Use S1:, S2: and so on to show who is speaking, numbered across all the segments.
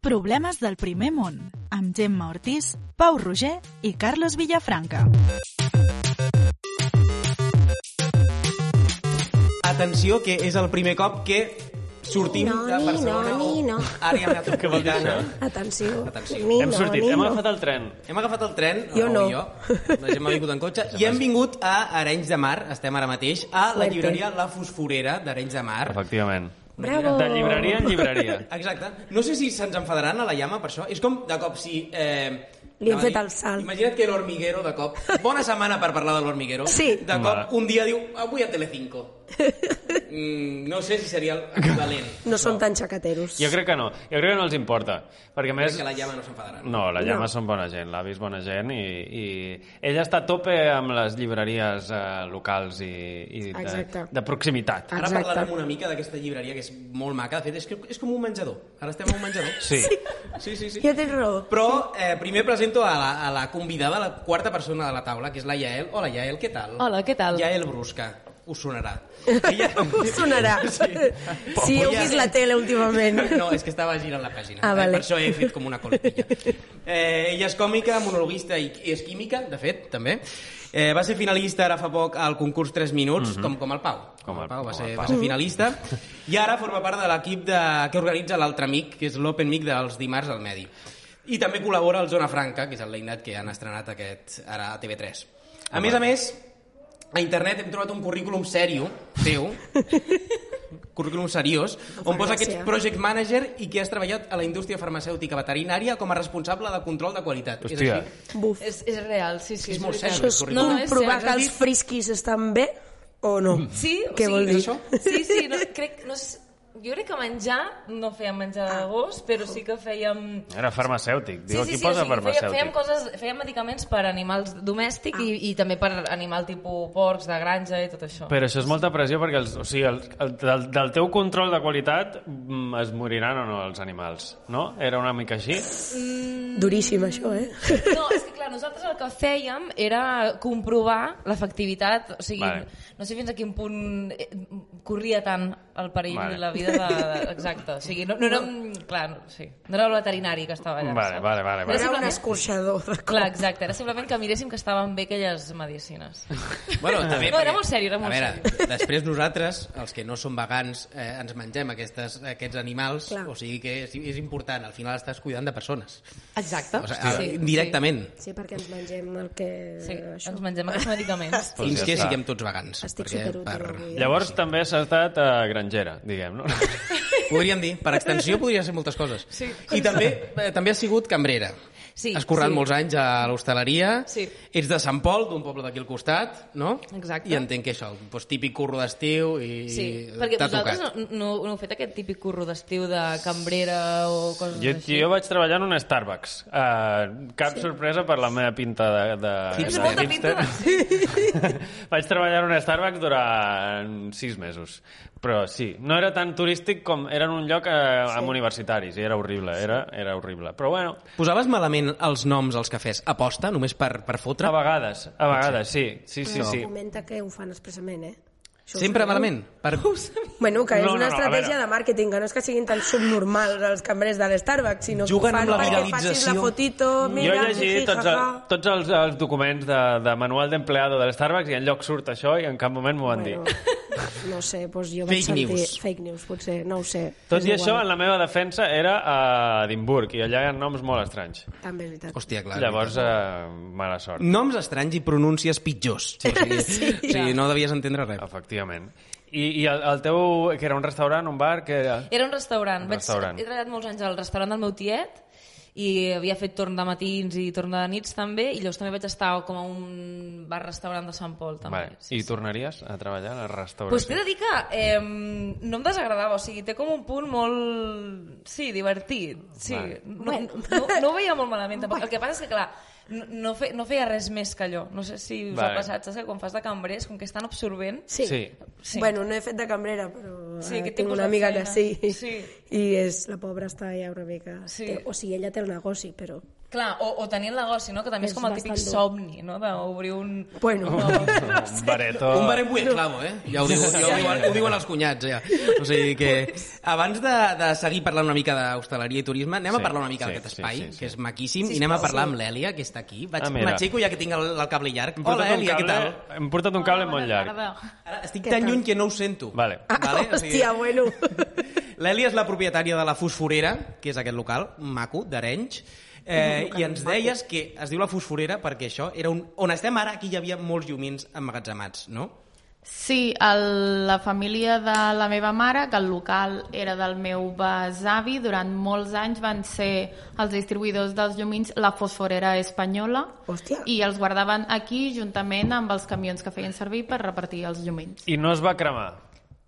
S1: Problemes del primer món, amb Gemma Ortiz, Pau Roger i Carlos Villafranca.
S2: Atenció, que és el primer cop que sortim
S3: No,
S2: de
S3: ni
S2: Barcelona
S3: no, ni no.
S2: o àrea metropolitana.
S3: Atenció.
S2: Atenció.
S3: Ni
S4: Hem
S3: no,
S4: sortit,
S3: ni
S4: hem
S3: no.
S4: agafat el tren.
S2: Hem agafat el tren,
S3: Jo
S2: o
S3: no.
S2: jo, la gent m'ha vingut en cotxe, i hem vingut a Arenys de Mar, estem ara mateix, a la
S3: Fuerte.
S2: llibreria La Fosforera d'Arenys de Mar.
S4: Efectivament.
S3: Bravo.
S4: De llibreria en llibreria.
S2: Exacte. No sé si se'ns enfadaran a la llama per això. És com, de cop, si... Eh,
S3: Li hem
S2: anava a
S3: fet
S2: dir,
S3: el salt.
S2: Imagina't que l'Hormiguero, de cop... Bona setmana per parlar de l'Hormiguero.
S3: Sí.
S2: De
S4: Vale.
S2: cop, un dia diu, avui a Telecinco. Mm, no sé si seria el valent.
S3: No són tan xacateros.
S4: Jo crec que no. Jo crec que no els importa. Perquè a més...
S2: Que la llama no s'enfadarà.
S4: No, la llama
S3: No.
S4: no. són bona gent, l'avi és bona gent i, i ella està a tope amb les llibreries eh, locals i, i de,
S3: Exacte.
S4: de proximitat.
S3: Ah.
S2: Ara
S3: Exacte.
S2: parlarem una mica d'aquesta llibreria que és molt maca. De fet, és, que és com un menjador. Ara estem a un menjador.
S4: Sí.
S2: Sí, sí, sí.
S3: Ja tens raó.
S2: Però eh, primer presento a la, a la convidada, la quarta persona de la taula, que és la Yael. Hola, Yael, què tal?
S5: Hola, què tal?
S2: Yael Brusca. Us sonarà. Ella...
S3: Us sonarà. Sí, sí heu
S2: Ja.
S3: vist la tele últimament.
S2: No, és que estava girant la pàgina.
S3: Ah,
S2: eh?
S3: vale.
S2: Per això he fet com una coletilla. Eh, ella és còmica, monologuista i, i és química, de fet, també. Eh, va ser finalista ara fa poc al concurs 3 minuts, com, com el Pau.
S4: Mhm. Com el-
S2: va,
S4: com
S2: ser,
S4: el
S2: va
S4: Pau.
S2: ser finalista. I ara forma part de l'equip de- que organitza l'altre amic, que és l'Open Mic dels dimarts al Medi. I també col·labora al Zona Franca, que és el Leinat que han estrenat aquest, ara a TV3. A
S4: Ah,
S2: més a més, a internet hem trobat un currículum sèrio, teu, currículum seriós, on posa que ets
S3: gràcia.
S2: project manager i que has treballat a la indústria farmacèutica veterinària com a responsable de control de qualitat. És
S4: Hòstia.
S2: així?
S3: Buf.
S5: És, és real, sí, sí.
S2: És molt
S5: veritat.
S2: sèrio, el
S3: Això és
S2: No,
S3: no,
S2: no,
S3: comprovar
S5: cert,
S3: que
S5: has
S3: els
S5: dit-
S3: frisquis estan bé o no.
S5: Sí, o
S3: Què
S5: sigui,
S3: vol dir?
S2: és això?
S5: Sí, sí, no, crec, no, és- jo crec que menjar, no fèiem menjar
S3: Ah.
S5: de gos, però sí que fèiem...
S4: Era farmacèutic. Diu,
S5: sí, sí,
S4: aquí
S5: sí,
S4: posa
S5: o sigui, feia-
S4: farmacèutic.
S5: fèiem, coses, fèiem medicaments per animals
S3: Ah.
S5: domèstics i, i també per animal tipus porcs de granja i tot això.
S4: Però això és molta pressió perquè els, o sigui, el, el, del, del teu control de qualitat mm, es moriran o no els animals, no? Era una mica així?
S3: Duríssim, això, eh?
S5: No, és que clar, nosaltres el que fèiem era comprovar l'efectivitat, o sigui,
S4: Vale.
S5: vale. no sé fins a quin punt eh, corria tant el perill
S4: Vale.
S5: vale. la vida de... de- Exacte, o sigui, no, no, érem- clar, no, sí, no era el veterinari que estava allà.
S4: Vale,
S5: saps?
S4: vale, vale,
S5: Era
S4: vale.
S3: Era un
S5: simplement-
S3: escorxador. de cop.
S5: Clar, exacte, era simplement que miréssim que estaven bé aquelles medicines.
S2: Eh, Bueno,
S4: Ah.
S2: també,
S5: No, era
S2: perquè-
S5: molt sèrio, era molt
S2: A veure, després nosaltres, els que no som vegans, eh, ens mengem aquestes, aquests animals,
S3: Clar.
S2: o sigui que és, és important, al final estàs cuidant de persones.
S5: Exacte.
S2: O sigui, sí, directament. Sí.
S3: Sí, perquè ens mengem el que...
S5: Sí, sí
S3: Això.
S5: ens mengem aquests medicaments.
S4: Pues
S2: Fins
S4: ja
S2: que
S4: està.
S2: siguem tots vegans.
S3: Estic
S2: perquè
S3: superútil avui.
S4: Llavors també s'ha estat eh, grangera, diguem, no?
S2: Podríem dir, per extensió podria ser moltes coses.
S5: Sí.
S2: I també, eh, també has sigut cambrera.
S5: Sí,
S2: Has currat
S5: sí.
S2: molts anys a l'hostaleria.
S5: Sí.
S2: Ets de Sant Pol, d'un poble d'aquí al costat, no?
S5: Exacte.
S2: I entenc que això, doncs, típic curro d'estiu i
S5: Sí, perquè
S2: t'ha
S5: vosaltres
S2: tocat.
S5: no, no, no heu fet aquest típic curro d'estiu de cambrera o coses
S4: Jo,
S5: així?
S4: jo vaig treballar en un Starbucks. Uh, cap sí. sorpresa per la meva pinta de... de
S2: Tens
S4: de
S2: molta
S4: hipster.
S5: pinta
S4: vaig treballar en un Starbucks durant sis mesos. Però sí, no era tan turístic com... Era en un lloc eh, amb universitaris i era horrible, era, era horrible. Però bueno,
S2: Posaves malament els noms als cafès a posta, només per, per fotre?
S4: a vegades, a vegades, sí, sí, sí, sí.
S3: Comenta que ho fan expressament, eh? Això ho
S2: Sempre
S3: sabeu?
S2: malament? Per...
S3: Bueno, que és
S4: No, no,
S3: una
S4: no, a
S3: estratègia
S4: veure.
S3: de màrqueting, que no és que siguin tan subnormals els cambrers de l'Starbucks, sinó
S2: Juguen
S3: que ho
S2: amb
S3: fan
S2: la
S3: perquè facis
S2: viralització.
S3: la fotito,
S4: Jo
S3: mira,
S4: he
S3: jiji,
S4: llegit tots, el,
S3: jaja.
S4: tots els, els documents de, de manual d'empleado de l'Starbucks i en lloc surt això i en cap moment m'ho van
S3: Bueno,
S4: dir.
S3: no sé, doncs jo
S2: Fake
S3: vaig sentir...
S2: news.
S3: Fake news, potser, no ho sé.
S4: Tot
S3: És
S4: i
S3: igual.
S4: això, en la meva defensa era a Edimburg i allà hi ha noms molt estranys.
S3: També és veritat.
S2: Hòstia, clar.
S4: Llavors, eh, mala sort,
S2: Noms estranys i pronúncies pitjors. Sí, o sigui, sí, o sigui no devies entendre res.
S4: efectivament. I, i el, el teu, que era un restaurant, un bar, que era...
S5: Era un restaurant.
S4: Un
S5: Vaig,
S4: restaurant.
S5: He treballat molts anys al restaurant del meu tiet i havia fet torn de matins i torn de nits també i llavors també vaig estar com a un bar-restaurant de Sant Pol també.
S4: Vale. I tornaries a treballar a la restauració?
S5: Pues t'he de dir que eh, no em desagradava, o sigui, té com un punt molt... Sí, divertit. Sí.
S4: Vale.
S5: No, no, no, no ho veia molt malament, tampoc. El que passa és que, clar, no, no, fe, no feia res més que allò. No sé si us
S4: Vale.
S5: ha passat, saps? Que quan fas de cambrer, és com que és tan absorbent...
S3: Sí.
S4: Sí.
S3: sí. Bueno, no he fet de cambrera, però
S5: Sí,
S3: eh,
S5: que
S3: tinc
S5: tipus
S3: una
S5: de
S3: amiga que
S5: feina.
S3: sí.
S5: Sí.
S3: I és, la pobra està ja una mica...
S5: Sí.
S3: Té- O sigui, ella té el negoci, però
S5: Clar, o, o tenir el negoci, no? que també és,
S3: És
S5: com el típic
S3: bastant dur.
S5: somni, no? d'obrir un...
S3: Bueno,
S4: Un bareto...
S2: Un barem muy esclavo, eh? Ja ho, diu, ja ho, diuen, ho diuen els cunyats, ja. O sigui que, abans de, de seguir parlant una mica d'hostaleria i turisme, anem
S4: Sí,
S2: a parlar una mica
S4: sí,
S2: d'aquest
S4: sí,
S2: espai,
S4: sí, sí.
S2: que és maquíssim, i anem a parlar amb l'Èlia, que està aquí. Vaig,
S4: Ah, mira.
S2: M'aixeco ja que tinc el, el cable llarg.
S4: Hem portat
S2: Hola,
S4: un
S2: Èlia, què tal?
S4: cable- Hem portat un cable molt llarg.
S2: Ara estic tan lluny que no ho sento.
S4: Vale.
S3: ah,
S2: Vale? O sigui,
S3: hòstia, bueno.
S2: L'Èlia és la propietària de la Fosforera, que és aquest local maco d'Arenys, eh, i ens deies que es diu la Fosforera perquè això era un... On estem ara, aquí hi havia molts llumins emmagatzemats, no?
S6: Sí, el, la família de la meva mare, que el local era del meu besavi, durant molts anys van ser els distribuïdors dels llumins la fosforera espanyola
S3: Hòstia.
S6: i els guardaven aquí juntament amb els camions que feien servir per repartir els llumins.
S4: I no es va cremar.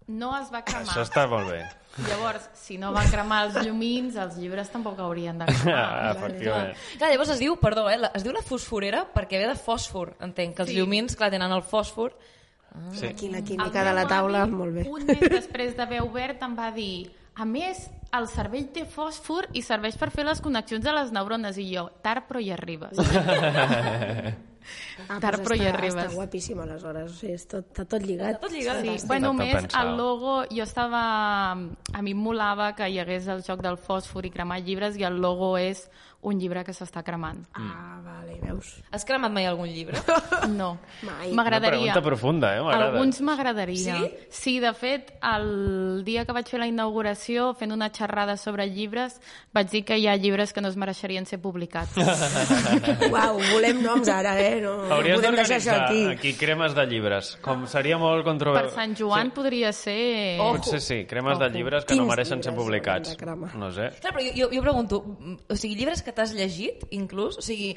S6: No es va cremar.
S4: Això està molt bé.
S6: Llavors, si no van cremar els llumins, els llibres tampoc haurien de cremar.
S4: Ah, efectivament.
S5: Clar, llavors es diu, perdó, eh, la- es diu la fosforera perquè ve de fòsfor, entenc, que els
S6: Sí.
S5: llumins, clar, tenen el fòsfor.
S4: Sí.
S3: Aquí la
S6: El
S3: química de la
S6: meu
S3: taula,
S6: avi,
S3: molt bé.
S6: Un mes després d'haver obert em va dir a més, el cervell té fòsfor i serveix per fer les connexions de les neurones. I jo, tard però hi arribes.
S3: Ah,
S6: Tard, però hi
S3: està,
S6: arribes.
S3: Està guapíssim, aleshores. O sigui, és tot, està tot lligat.
S5: Està tot lligat.
S6: Sí,
S5: Fantàstic.
S6: bueno,
S4: Tot
S6: més
S4: pensat.
S6: el logo, jo estava... A mi em molava que hi hagués el joc del fòsfor i cremar llibres i el logo és un llibre que s'està cremant.
S4: Mm.
S3: Ah, vale, veus.
S5: Has cremat mai algun llibre?
S6: No,
S3: Mai.
S6: m'agradaria.
S4: Una pregunta profunda, eh? M'agrada.
S6: Alguns m'agradaria.
S5: Sí?
S6: Sí, de fet, el dia que vaig fer la inauguració, fent una xerrada sobre llibres, vaig dir que hi ha llibres que no es mereixerien ser publicats.
S3: Uau, volem noms ara, eh? No, no
S4: Hauries
S3: podem deixar això
S4: d'organitzar
S3: aquí.
S4: aquí. cremes de llibres. Com seria molt
S6: per
S4: controvertit.
S6: Sant Joan podria ser...
S5: Oh,
S4: Sí. Potser sí, cremes de llibres que no
S3: Quins
S4: mereixen ser
S3: llibres
S4: publicats.
S3: haurem de cremar?
S4: No sé.
S5: Clar, però jo, jo, jo pregunto, mm, o sigui, llibres que t'has llegit, inclús? O sigui,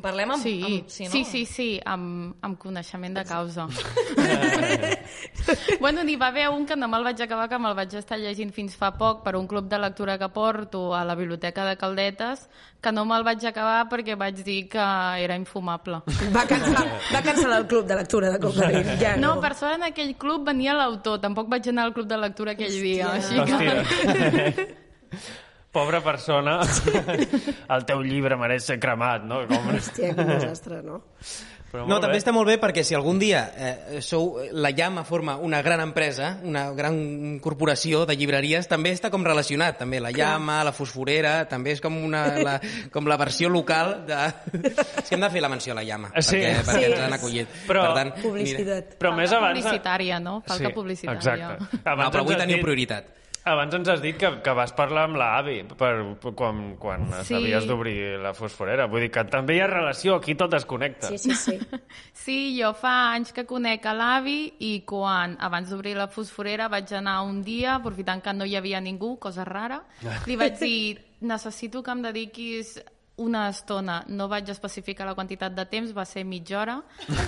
S5: parlem amb...
S6: Sí,
S5: amb
S6: sí,
S5: no?
S6: sí, sí, sí amb, amb coneixement de causa. bueno, n'hi va haver un que no me'l vaig acabar, que me'l vaig estar llegint fins fa poc per un club de lectura que porto a la biblioteca de Caldetes, que no me'l vaig acabar perquè vaig dir que era infumable.
S3: Va cancel·lar, va cancel·lar el club de lectura de cop de nit. Ja no.
S6: No, per sort en aquell club venia l'autor, tampoc vaig anar al club de lectura aquell dia, així que...
S4: Hòstia. Pobra persona, el teu llibre mereix ser cremat, no? Com...
S3: Hòstia, quin desastre, no?
S4: Però
S2: No,
S4: molt
S2: també
S4: bé.
S2: està molt bé perquè si algun dia eh, sou, la llama forma una gran empresa, una gran corporació de llibreries, també està com relacionat, també la llama, la fosforera, també és com, una, la, com la versió local de... És que hem de fer la menció a la llama,
S4: Eh, Sí.
S2: perquè, perquè
S3: Sí.
S2: ens han acollit.
S4: Però-
S2: Per tant,
S3: Publicitat.
S4: Però més abans...
S6: Publicitària, no? Falca publicitària.
S4: Exacte.
S2: Mira, no,
S4: ens
S2: però avui
S4: has
S2: teniu
S4: dit-
S2: prioritat.
S4: Abans ens has dit que, que vas parlar amb l'avi per, per, quan, quan
S6: Sí.
S4: sí. havies d'obrir la fosforera. Vull dir que també hi ha relació, aquí tot es connecta.
S3: Sí, sí, sí.
S6: Sí, jo fa anys que conec a l'avi i quan, abans d'obrir la fosforera, vaig anar un dia, aprofitant que no hi havia ningú, cosa rara, li vaig dir, necessito que em dediquis una estona, no vaig especificar la quantitat de temps, va ser mitja hora,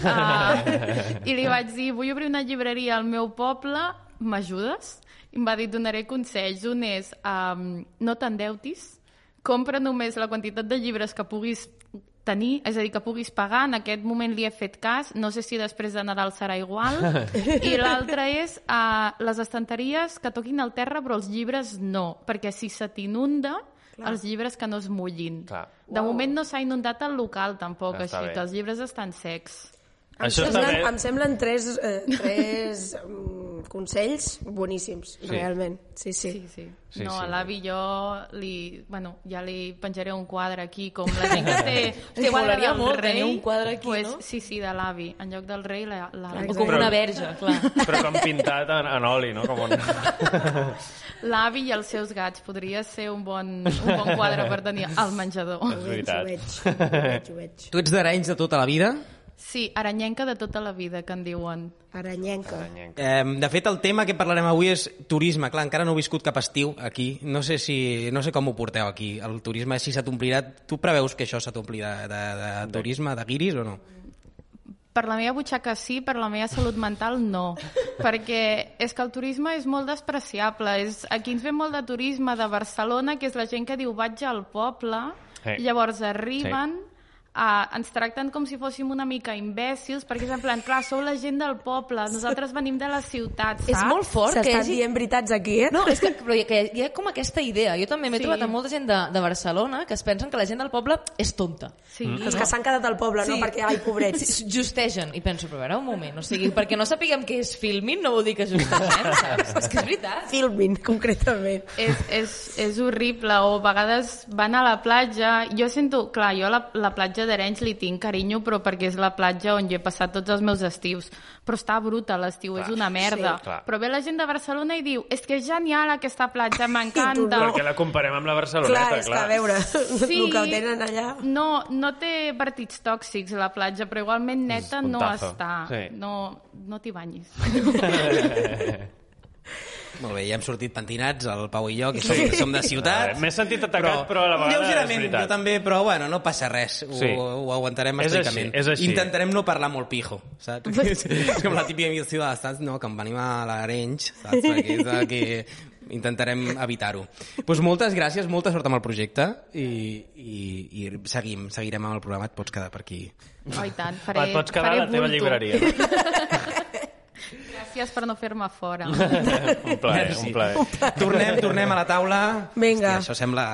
S6: uh, i li vaig dir, vull obrir una llibreria al meu poble, m'ajudes? I em va dir, "Et donaré consells, un és, um, no t'endeutis, compra només la quantitat de llibres que puguis tenir, és a dir, que puguis pagar. En aquest moment li he fet cas, no sé si després de Nadal serà igual. I l'altre és uh, les estanteries que toquin el terra, però els llibres no, perquè si se t'inunda, els llibres que no es mullin.
S4: Clar.
S6: De moment no s'ha inundat el local, tampoc,
S4: Està
S6: així
S4: bé.
S6: que els llibres estan secs.
S3: Em
S4: Això està
S3: semblen,
S4: bé.
S3: em semblen tres, eh, tres mm, consells boníssims, sí. realment. Sí, sí.
S6: Sí, sí.
S4: Sí,
S6: no,
S4: sí.
S6: a l'avi jo li... Bueno, ja li penjaré un quadre aquí, com la gent que té, té
S5: Li
S6: quadre
S5: molaria
S6: del
S5: molt
S6: rei.
S5: tenir un quadre aquí,
S6: pues,
S5: no?
S6: Sí, sí, de l'avi. En lloc del rei, la- la-
S5: O com
S4: Però-
S5: una verge, clar.
S4: Però com pintat en, en oli, no? Com un...
S6: l'avi i els seus gats. Podria ser un bon, un bon quadre per tenir al
S4: És
S6: menjador.
S3: Ho veig, ho
S4: veritat.
S3: veig. Ho veig, ho veig.
S2: Tu ets d'Arenys de tota la vida.
S6: Sí, aranyenca de tota la vida, que en diuen.
S3: Aranyenca.
S2: Eh, de fet, el tema que parlarem avui és turisme. Clar, encara no he viscut cap estiu aquí. No sé, si, no sé com ho porteu aquí, el turisme, si se t'omplirà... Tu preveus que això se t'ompli de, de, de, turisme, de guiris o no?
S6: Per la meva butxaca sí, per la meva salut mental no. Perquè és que el turisme és molt despreciable. És, aquí ens ve molt de turisme de Barcelona, que és la gent que diu vaig al poble,
S4: Sí.
S6: llavors arriben, Uh, ens tracten com si fóssim una mica imbècils, perquè és en plan, clar, sou la gent del poble, nosaltres venim de la ciutat, saps?
S5: És molt fort que
S3: S'estan
S5: hagi...
S3: dient veritats aquí, eh?
S5: No, és que, però hi ha- que hi ha com aquesta idea. Jo també m'he
S6: Sí.
S5: sí. trobat amb molta gent de, de Barcelona que es pensen que la gent del poble és tonta.
S6: Sí.
S3: Els que s'han quedat al poble, no?
S5: Sí.
S3: Perquè, ai, pobrets.
S5: Sí, Justegen. I penso, però a veure, un moment, o sigui, perquè no sapiguem què és filmin no vol dir que justegem, saps? És que és veritat.
S3: Filmin, concretament.
S6: és, és, és horrible, o a vegades van a la platja, jo sento, clar, jo a la, la platja d'Arenys li tinc carinyo, però perquè és la platja on jo he passat tots els meus estius, però està bruta l'estiu, és una merda,
S4: sí. Clar.
S6: però ve la gent de Barcelona i diu, és que és genial aquesta platja,
S3: tu no.
S6: m'encanta,
S4: Perquè la comparem amb la
S3: Clar,
S4: Barceloneta, clar.
S3: és que a veure,
S6: Sí.
S3: el que ho tenen allà...
S6: No, no té partits tòxics la platja, però igualment neta
S4: És un
S6: no
S4: tazo.
S6: està.
S4: Sí.
S6: No, no t'hi banyis.
S2: Molt bé, ja hem sortit pentinats, el Pau i jo, que som, que som de ciutat.
S4: Eh, M'he sentit atacat, però a la vegada és
S2: lleugerament,
S4: veritat.
S2: jo també, però bueno, no passa res. Ho,
S4: Sí.
S2: ho aguantarem
S4: És
S2: estoicament.
S4: així, és així.
S2: Intentarem no parlar molt pijo, saps? és, és com la típica missió de l'estat, no, que em venim a l'Arenys, saps? Perquè és el que intentarem evitar-ho. Doncs moltes gràcies, molta sort amb el projecte i, i, i seguim, seguirem amb el programa, et pots quedar per aquí.
S6: Oh, i tant, faré,
S4: Va, et pots quedar a
S6: faré
S4: la teva
S6: bulto.
S4: llibreria.
S6: Gràcies per no fer-me fora.
S4: un plaer,
S2: Merci.
S4: un plaer.
S2: Tornem, tornem a la taula.
S3: Vinga.
S2: Hòstia, això sembla...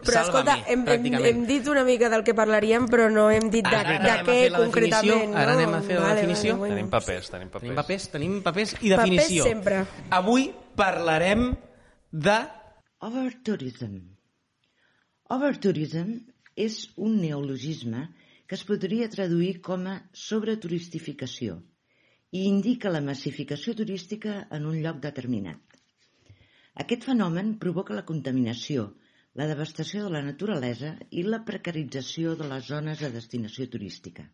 S3: Però escolta,
S2: Sálvame,
S3: hem, hem,
S2: pràcticament.
S3: hem dit una mica del que parlaríem, però no hem dit de,
S2: Ara anem
S3: de
S2: a
S3: què
S2: fer la
S3: concretament.
S2: definició, ara anem a fer la
S3: no?
S2: definició.
S3: Vale,
S4: Tenim
S3: bueno.
S4: papers, tenim papers.
S2: Tenim papers, tenim papers i
S3: Papers
S2: definició.
S3: sempre.
S2: Avui parlarem de...
S7: Overtourism. Overtourism és un neologisme que es podria traduir com a sobreturistificació i indica la massificació turística en un lloc determinat. Aquest fenomen provoca la contaminació, la devastació de la naturalesa i la precarització de les zones de destinació turística.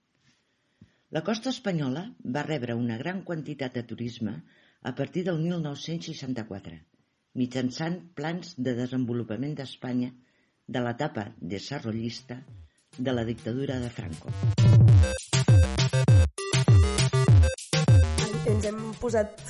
S7: La costa espanyola va rebre una gran quantitat de turisme a partir del 1964, mitjançant plans de desenvolupament d'Espanya de l'etapa desarrollista de la dictadura de Franco.
S3: Ens hem posat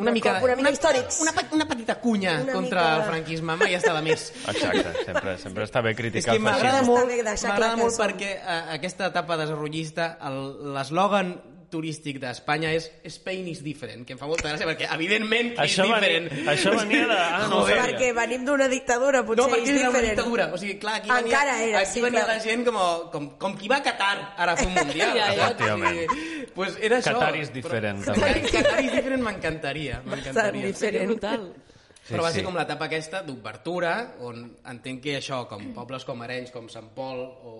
S2: Una mica,
S3: cop, una mica històrics.
S2: Una, pe- una petita cunya
S3: Una
S2: contra
S3: mica-
S2: el franquisme, mai està de més.
S4: Exacte, sempre, sempre està bé
S2: És
S4: criticar
S2: que
S4: el
S2: m'agrada
S4: feixisme.
S2: molt,
S3: Està bé deixar clar
S2: m'agrada
S3: que
S2: molt
S3: som-
S2: perquè eh, aquesta etapa desarrollista, el- l'eslògan turístic d'Espanya és Spain is different, que em fa molta gràcia perquè evidentment que
S4: Això
S2: és
S4: venia-
S2: diferent.
S4: això venia de- ah, no ho
S2: Joder.
S4: sabia.
S3: Perquè venim d'una dictadura, potser
S2: no, perquè
S3: és
S2: era una
S3: diferent.
S2: dictadura. O sigui, clar, aquí
S3: Encara
S2: venia,
S3: era,
S2: aquí
S3: sí,
S2: venia
S3: clar.
S2: la gent com, com, com qui va a Qatar ara a fer un mundial.
S5: Ja, ja.
S2: saps? O sigui, pues era això.
S4: Qatar is different,
S2: Però,
S4: també.
S2: Qatar- Qatar is different m'encantaria.
S3: Bastant
S2: M'encantaria.
S3: diferent.
S5: Brutal.
S2: Sí, però va
S4: sí.
S2: ser com l'etapa aquesta d'obertura, on entenc que això, com pobles com Arenys, com Sant Pol o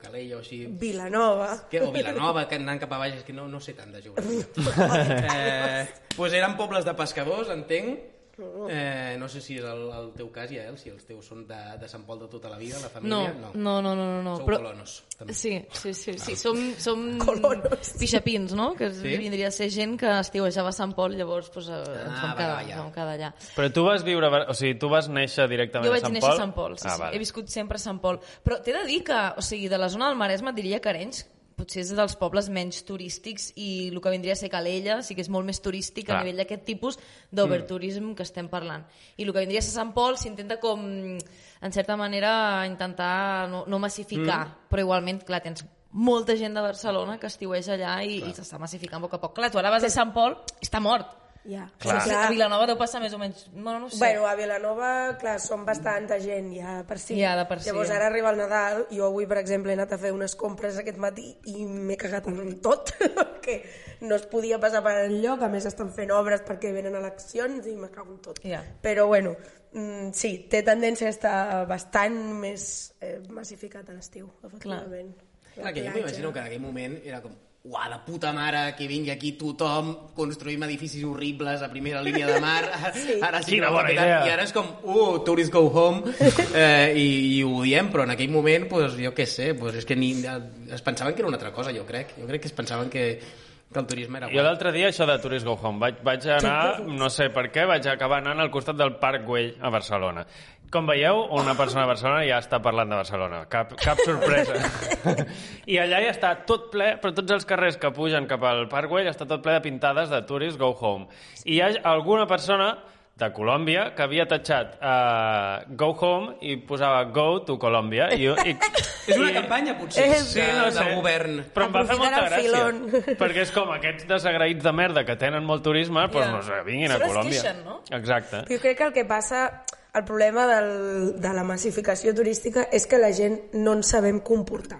S2: Calella o així,
S3: Vilanova.
S2: que, o Vilanova, que anant cap a baix, és que no, no sé tant de geografia. eh, pues eren pobles de pescadors, entenc. Eh, no sé si és el, el teu cas, ja, eh? si els teus són de, de Sant Pol de tota la vida, la
S5: No,
S2: família...
S5: no, no, no, no. no.
S2: Sou colonos, també.
S5: Sí, sí, sí, sí. Som, som
S3: Colonos.
S5: pixapins, no? Que
S2: Sí.
S5: sí? vindria a ser gent que estiuejava a Sant Pol, llavors pues, eh, ens
S2: Ah,
S5: vam
S2: va,
S5: quedar,
S2: va, ja.
S5: ens vam quedar allà.
S4: Però tu vas viure... a Bar- O sigui, tu vas néixer directament
S5: Jo
S4: a
S5: vaig
S4: Sant Pol?
S5: néixer a Sant Pol, sí,
S4: ah,
S5: sí.
S4: vale.
S5: he viscut sempre a Sant Pol. Però t'he de dir que, o sigui, de la zona del Maresme et diria que Arenys potser és dels pobles menys turístics i el que vindria a ser Calella sí que és molt més turístic
S4: Clar. Mm.
S5: a nivell d'aquest tipus d'oberturisme que estem parlant. I el que vindria a ser Sant Pol s'intenta com, en certa manera, intentar no, no massificar,
S4: Mm.
S5: però igualment, clar, tens molta gent de Barcelona que estiueix allà i, i s'està massificant a poc a poc. Clar, tu ara vas a Sant Pol, està mort.
S3: Ja.
S4: Clar.
S5: O sigui, A Vilanova deu passar més o menys... Bueno, no ho sé.
S3: Bueno, a Vilanova, clar, som bastanta gent ja per si.
S5: Ja, de per si,
S3: Llavors
S5: ja.
S3: ara arriba el Nadal, jo avui, per exemple, he anat a fer unes compres aquest matí i m'he cagat en tot, perquè no es podia passar per enlloc, a més estan fent obres perquè venen eleccions i me cago en tot.
S5: Ja.
S3: Però bueno, mm, sí, té tendència a estar bastant més eh, massificat a l'estiu, efectivament.
S2: Clar, que jo m'imagino que en aquell moment era com uà, la puta mare, que vingui aquí tothom, construïm edificis horribles a primera línia de mar, sí. ara sí
S4: Quina
S2: que
S4: bona
S2: aprofitem.
S4: idea.
S2: I ara és com, uh, tourists go home, eh, i, i ho diem, però en aquell moment, pues, jo què sé, pues, és que ni, eh, es pensaven que era una altra cosa, jo crec. Jo crec que es pensaven que, que el turisme era
S4: Jo
S2: guai.
S4: l'altre dia, això de Tourist Go Home, vaig, vaig anar, no sé per què, vaig acabar anant al costat del Parc Güell a Barcelona. Com veieu, una persona de Barcelona ja està parlant de Barcelona. Cap, cap sorpresa. I allà ja està tot ple, però tots els carrers que pugen cap al Parc Güell està tot ple de pintades de Tourist Go Home. I hi ha alguna persona de Colòmbia que havia tatxat uh, Go Home i posava Go to Colòmbia. I, i,
S2: És una campanya, potser,
S4: Sí,
S2: de-
S4: no sé.
S2: del govern.
S4: Però em va fer molta
S3: Aprofitant el
S4: gràcia.
S3: filón.
S4: Perquè és com aquests desagraïts de merda que tenen molt turisme, doncs
S5: Ja.
S4: no sé, vinguin a
S5: Sobre es
S4: Colòmbia.
S5: queixen, no?
S4: Exacte.
S3: Jo crec que el que passa, el problema del, de la massificació turística és que la gent no ens sabem comportar.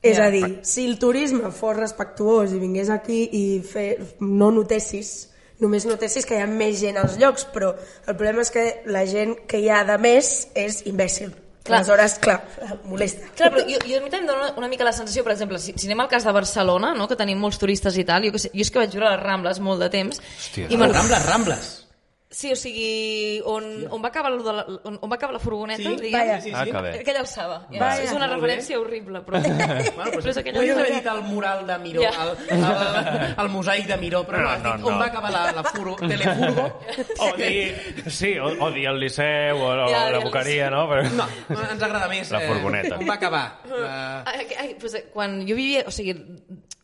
S3: És a dir, si el turisme fos respectuós i vingués aquí i fer, no notessis, només notessis que hi ha més gent als llocs, però el problema és que la gent que hi ha de més és imbècil.
S5: Clar.
S3: Clar. Aleshores, clar, molesta.
S5: Clar, però jo, jo a mi també em dona una mica la sensació, per exemple, si, si anem al cas de Barcelona, no, que tenim molts turistes i tal, jo, que sé, jo és que vaig viure a les Rambles molt de temps. Hòstia, i me'n-
S2: Rambles, Rambles.
S5: Sí, o sigui, on, on, va acabar lo de la, on, on va acabar la furgoneta,
S2: Sí,
S5: diguem,
S3: vaja.
S2: sí, sí.
S4: Ah, que bé.
S5: aquella alçada. Ja,
S2: Vaja.
S5: és
S2: Molt
S5: una
S2: bé.
S5: referència horrible, però...
S2: Bueno, però
S5: però és aquella
S2: Podries haver
S5: alçada.
S2: dit el mural de Miró,
S5: Ja.
S2: ja. el, el, el, mosaic de Miró, però no,
S4: No,
S2: has dit
S4: no, no.
S2: on va acabar la, la furo, telefurgo.
S4: O dir, sí, o, o dir el Liceu o, o
S5: Ja,
S4: la
S5: el
S4: Boqueria, no? Però...
S2: No, no, ens agrada més.
S4: La furgoneta.
S2: Eh, on va acabar? Eh,
S5: Ai, ai, pues, eh, quan jo vivia, o sigui,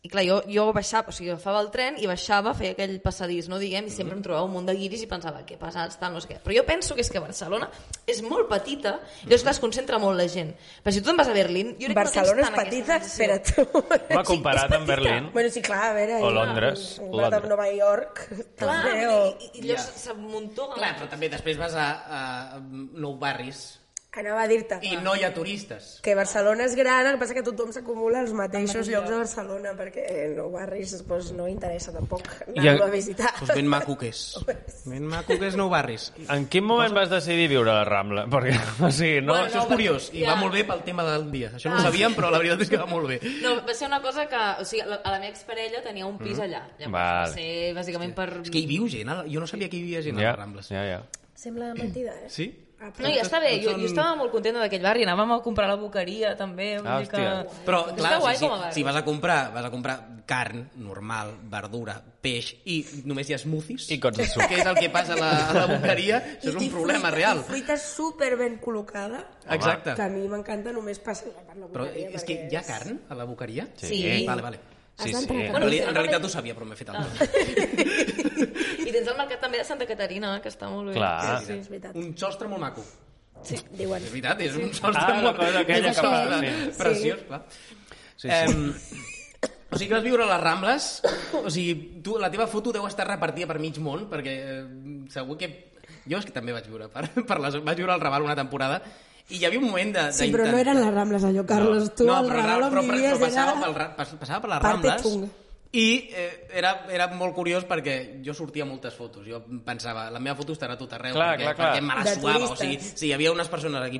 S5: i clar, jo, jo baixava, o sigui, agafava el tren i baixava, feia aquell passadís, no diguem, i sempre em
S2: Mm-hmm.
S5: trobava un munt de guiris i pensava, què passats, tal, no sé què. Però jo penso que és que Barcelona és molt petita, i llavors clar, es concentra molt la gent. Però si tu te'n vas a Berlín, jo crec
S3: Barcelona
S5: que
S3: és
S5: no tens
S3: petita,
S5: tant aquesta sensació.
S3: espera't.
S4: M'ha comparat amb Berlín.
S3: Bueno, sí, clar, a veure...
S4: O
S3: eh,
S4: Londres,
S3: Un, un
S4: Londres.
S3: de Nova York,
S5: Clar,
S3: també,
S5: i,
S3: o...
S5: i, i llavors
S2: Ja.
S5: s'amuntona.
S2: clar, però també després vas a, a Nou Barris
S3: Anava a dir-te.
S2: i no hi ha turistes.
S3: Que Barcelona és gran, el que passa que tothom s'acumula als mateixos llocs de Barcelona, perquè eh, no barris doncs, no interessa tampoc anar-lo
S4: en-
S3: a visitar.
S2: Pues Doncs ben maco que és. Ben maco que és Nou Barris.
S4: En quin moment vas decidir viure a la Rambla? Perquè, o sigui, no...
S2: No, això és
S5: no,
S2: curiós, i
S5: ja.
S2: va molt bé pel tema del dia. Això
S4: Ah.
S2: no ho sabíem, però la veritat és que va molt bé.
S5: No, va ser una cosa que... O sigui, la, a la meva exparella tenia un pis allà. Llavors
S4: Val.
S5: va ser bàsicament per...
S2: Mm-hmm. És que hi viu gent, a la- jo no sabia que hi vivia gent a
S4: Ja,
S2: les Rambles.
S4: ja, ja.
S3: Sembla mentida, eh?
S2: Sí?
S5: No, ja està bé, jo, jo estava molt contenta d'aquell barri, anàvem a comprar la boqueria també, vull
S4: Ah,
S5: dir que...
S4: hòstia.
S2: Però,
S5: Està
S2: clar,
S5: guai
S2: si, si,
S5: com a barri.
S2: si vas a comprar, vas a comprar carn normal, verdura, peix, i només hi ha smoothies,
S4: I cots de suc.
S2: que és el que passa a la, a la boqueria, això és
S3: I
S2: un problema
S3: fruita,
S2: real.
S3: I fruita super ben col·locada,
S2: Exacte.
S3: que a mi m'encanta només passejar per la
S2: Però eh,
S3: boqueria.
S2: és que hi ha carn a la boqueria? Eh,
S5: Sí.
S2: Vale, vale.
S4: Sí,
S3: Has
S4: sí.
S3: entrat
S2: En,
S5: Bueno,
S2: reali
S5: sí, Ah,
S2: en
S5: no
S2: realitat
S5: veig-
S2: ho sabia, però m'he fet el
S5: I tens el mercat també de Santa Caterina, que està molt bé.
S4: Clar.
S5: Sí, sí.
S3: veritat.
S2: Un sostre molt maco.
S3: Sí. Diuen,
S2: És veritat, és un sostre
S4: Ah, la
S2: molt...
S4: cosa aquella
S2: és
S4: que
S2: un
S4: fa,
S2: sostre
S4: sí.
S2: Preciós, clar.
S4: Sí, sí.
S2: Eh, Em, o sigui que vas viure a les Rambles, o sigui, tu, la teva foto deu estar repartida per mig món, perquè eh, segur que... Jo és que també vaig viure per, per les... Vaig viure al Raval una temporada i hi havia un moment de...
S3: sí, però no eren les Rambles, allò, Carles. Tu al
S2: però,
S3: Raval on
S2: però, però,
S3: vivies
S2: però
S3: era...
S2: passava, pel, Ra- pas- passava per les
S3: parte
S2: Rambles
S3: chunga.
S2: i eh, era, era molt curiós perquè jo sortia moltes fotos. Jo pensava, la meva foto estarà a tot arreu,
S4: Clar,
S2: perquè,
S4: clar, clar.
S2: perquè me la
S3: De
S2: suava. O
S3: turistes.
S2: sigui, si hi havia unes persones aquí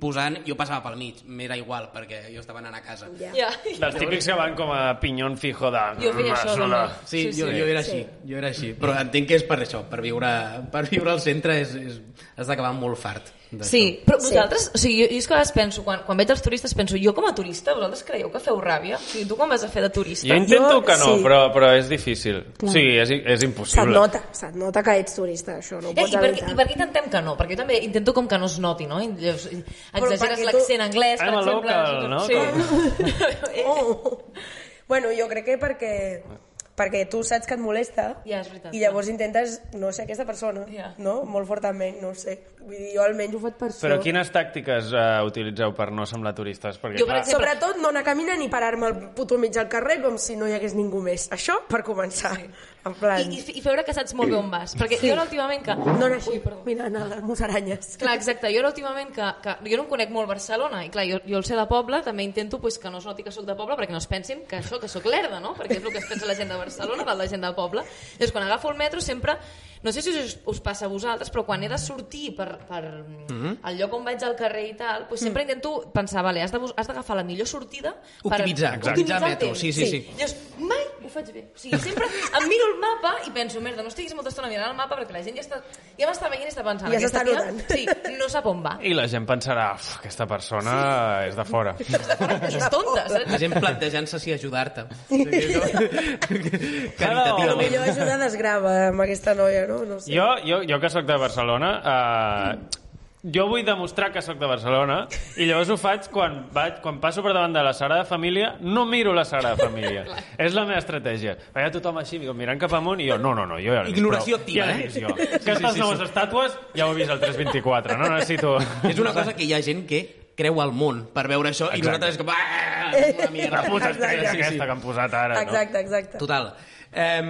S2: posant, jo passava pel mig. M'era igual, perquè jo estava anant a casa.
S3: Ja.
S5: Ja.
S4: Dels típics que van com a pinyón fijo de...
S5: Jo feia això,
S4: Barcelona.
S5: també.
S2: Sí, sí, jo, jo era així, jo era així. Però entenc que és per això, per viure, per viure al centre és, és, has d'acabar molt fart. d'això.
S5: Sí, però vosaltres, o sigui, jo, jo és que a vegades penso, quan, quan veig els turistes, penso, jo com a turista, vosaltres creieu que feu ràbia? O sigui, tu quan vas a fer de
S4: Jo
S5: turista?
S4: intento
S3: Jo-
S4: que no,
S3: sí.
S4: però, però és difícil.
S3: Clar.
S4: Sí, és, és
S3: Se't
S4: impossible.
S3: nota, se't nota que ets turista, això no ho
S5: Eh,
S3: pots
S5: i, per, què-
S3: evitar.
S5: I per què intentem que no? Perquè jo també intento com que no es noti, no? I Llavors, exageres
S3: perquè tu-
S5: l'accent anglès, per
S4: I'm a
S5: exemple.
S4: local, no?
S5: Sí.
S3: Oh. Bueno, jo crec que perquè, perquè tu saps que et molesta
S5: Ja, és veritat.
S3: i llavors intentes, no sé, aquesta persona,
S5: Ja.
S3: no? Molt fortament, no ho sé. Vull dir, jo almenys ho faig per això.
S4: Però quines tàctiques uh, utilitzeu per no semblar turistes? Perquè,
S5: Jo, per
S4: clar,
S5: exemple,
S3: Sobretot no anar caminant ni parar-me al puto mig del carrer com si no hi hagués ningú més. Això, per començar. En plan...
S5: I, i, I veure que saps molt bé on vas. Perquè sí. jo ara últimament que...
S3: No anar així, mira, anar a les musaranyes.
S5: Clar, exacte, jo ara últimament que, que jo no em conec molt Barcelona i clar, jo, jo el ser de poble també intento pues, que no es noti que sóc de poble perquè no es pensin que això que sóc lerda, no? Perquè és el que es pensa la gent de Barcelona val la gent de poble. Llavors quan agafo el metro sempre, no sé si us, us passa a vosaltres, però quan he de sortir per, per mm
S2: Mhm.
S5: -hmm. el lloc on vaig al carrer i tal, pues, sempre intento pensar, vale, has de bus- has d'agafar la millor sortida per
S2: Optimitzar, exacte.
S5: optimitzar el
S2: metro,
S5: temps.
S2: sí, sí, sí.
S5: Llavors, mai ho faig bé. O sigui, sempre em miro el mapa i penso, merda, no estiguis molta estona mirant el mapa perquè la gent ja està... Ja m'està veient i està pensant...
S3: Ja
S5: "Aquesta
S3: s'està
S5: tia,
S3: notant."
S5: Sí, no sap on va.
S4: I la gent pensarà, "Uf, aquesta persona és de fora.
S5: I és tonta,
S2: La
S5: saps?
S2: gent plantejant-se si ajudar-te. Caritativament.
S3: Millor ajuda desgrava amb aquesta noia, no? No sé.
S4: Jo, jo, jo que sóc de Barcelona, eh, jo vull demostrar que sóc de Barcelona i llavors ho faig quan, vaig, quan passo per davant de la Sagrada Família, no miro la Sagrada Família. és la meva estratègia. Veia tothom així, digo, mirant cap amunt, i jo, no, no, no, jo ja l'he vist.
S2: Ignoració
S4: prou.
S2: activa,
S4: ja
S2: eh?
S4: l'he vist jo. Aquestes
S2: sí, sí.
S4: noves estàtues ja ho he vist al 324, no necessito...
S2: És una cosa que hi ha gent que creu al món per veure això i
S4: Exacte.
S2: nosaltres com... "Ah, és una
S4: La
S2: mierda".
S4: puta estrella
S3: Exacte.
S4: aquesta que han posat ara, no?
S3: Exacte, exacte.
S2: Total. Eh,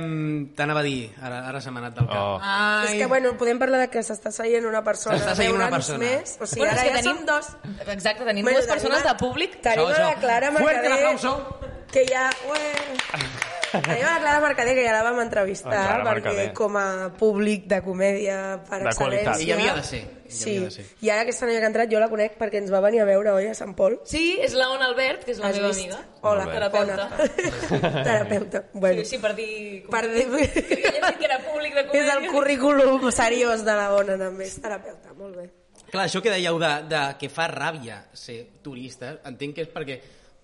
S2: T'anava a dir, ara, ara se m'ha anat del cap.
S4: Oh.
S2: Ai.
S3: És que, bueno, podem parlar de que s'està seient una persona.
S2: S'està seient una
S3: Veure'ns
S2: persona.
S3: Més. O sigui,
S5: Bueno, és
S3: ara
S5: que
S3: ja
S5: tenim-
S3: som dos.
S5: Exacte, tenim
S3: Bueno,
S5: dues persones de
S3: tenim a-
S5: públic.
S3: Tenim
S2: Això,
S3: a la
S2: això.
S3: Clara
S2: Fuerte el
S3: Mercader,
S2: aplauso.
S3: que ja... Ué. Tenim a la Clara Mercader, que ja la vam entrevistar,
S4: Ah, Clara
S3: perquè
S4: Mercader.
S3: com a públic de comèdia per
S4: De qualitat.
S3: excel·lència...
S2: Ella havia de ser. Ella
S3: Sí,
S2: havia de ser.
S3: i ara aquesta noia que ha entrat jo la conec perquè ens va venir a veure, oi, a Sant Pol?
S5: Sí, és la Ona Albert, que és la
S3: Has
S5: meva
S3: vist?
S5: amiga.
S3: Hola,
S4: Molt bé.
S5: Terapeuta.
S3: Bona. Terapeuta. Bueno,
S5: Sí, sí, per dir...
S3: per
S5: Que
S3: dir...
S5: ella sí que era públic de
S3: És
S5: comèdia.
S3: el currículum seriós de la Ona, també. És terapeuta, molt bé.
S2: Clar, això que dèieu de, de que fa ràbia ser turista, entenc que és perquè,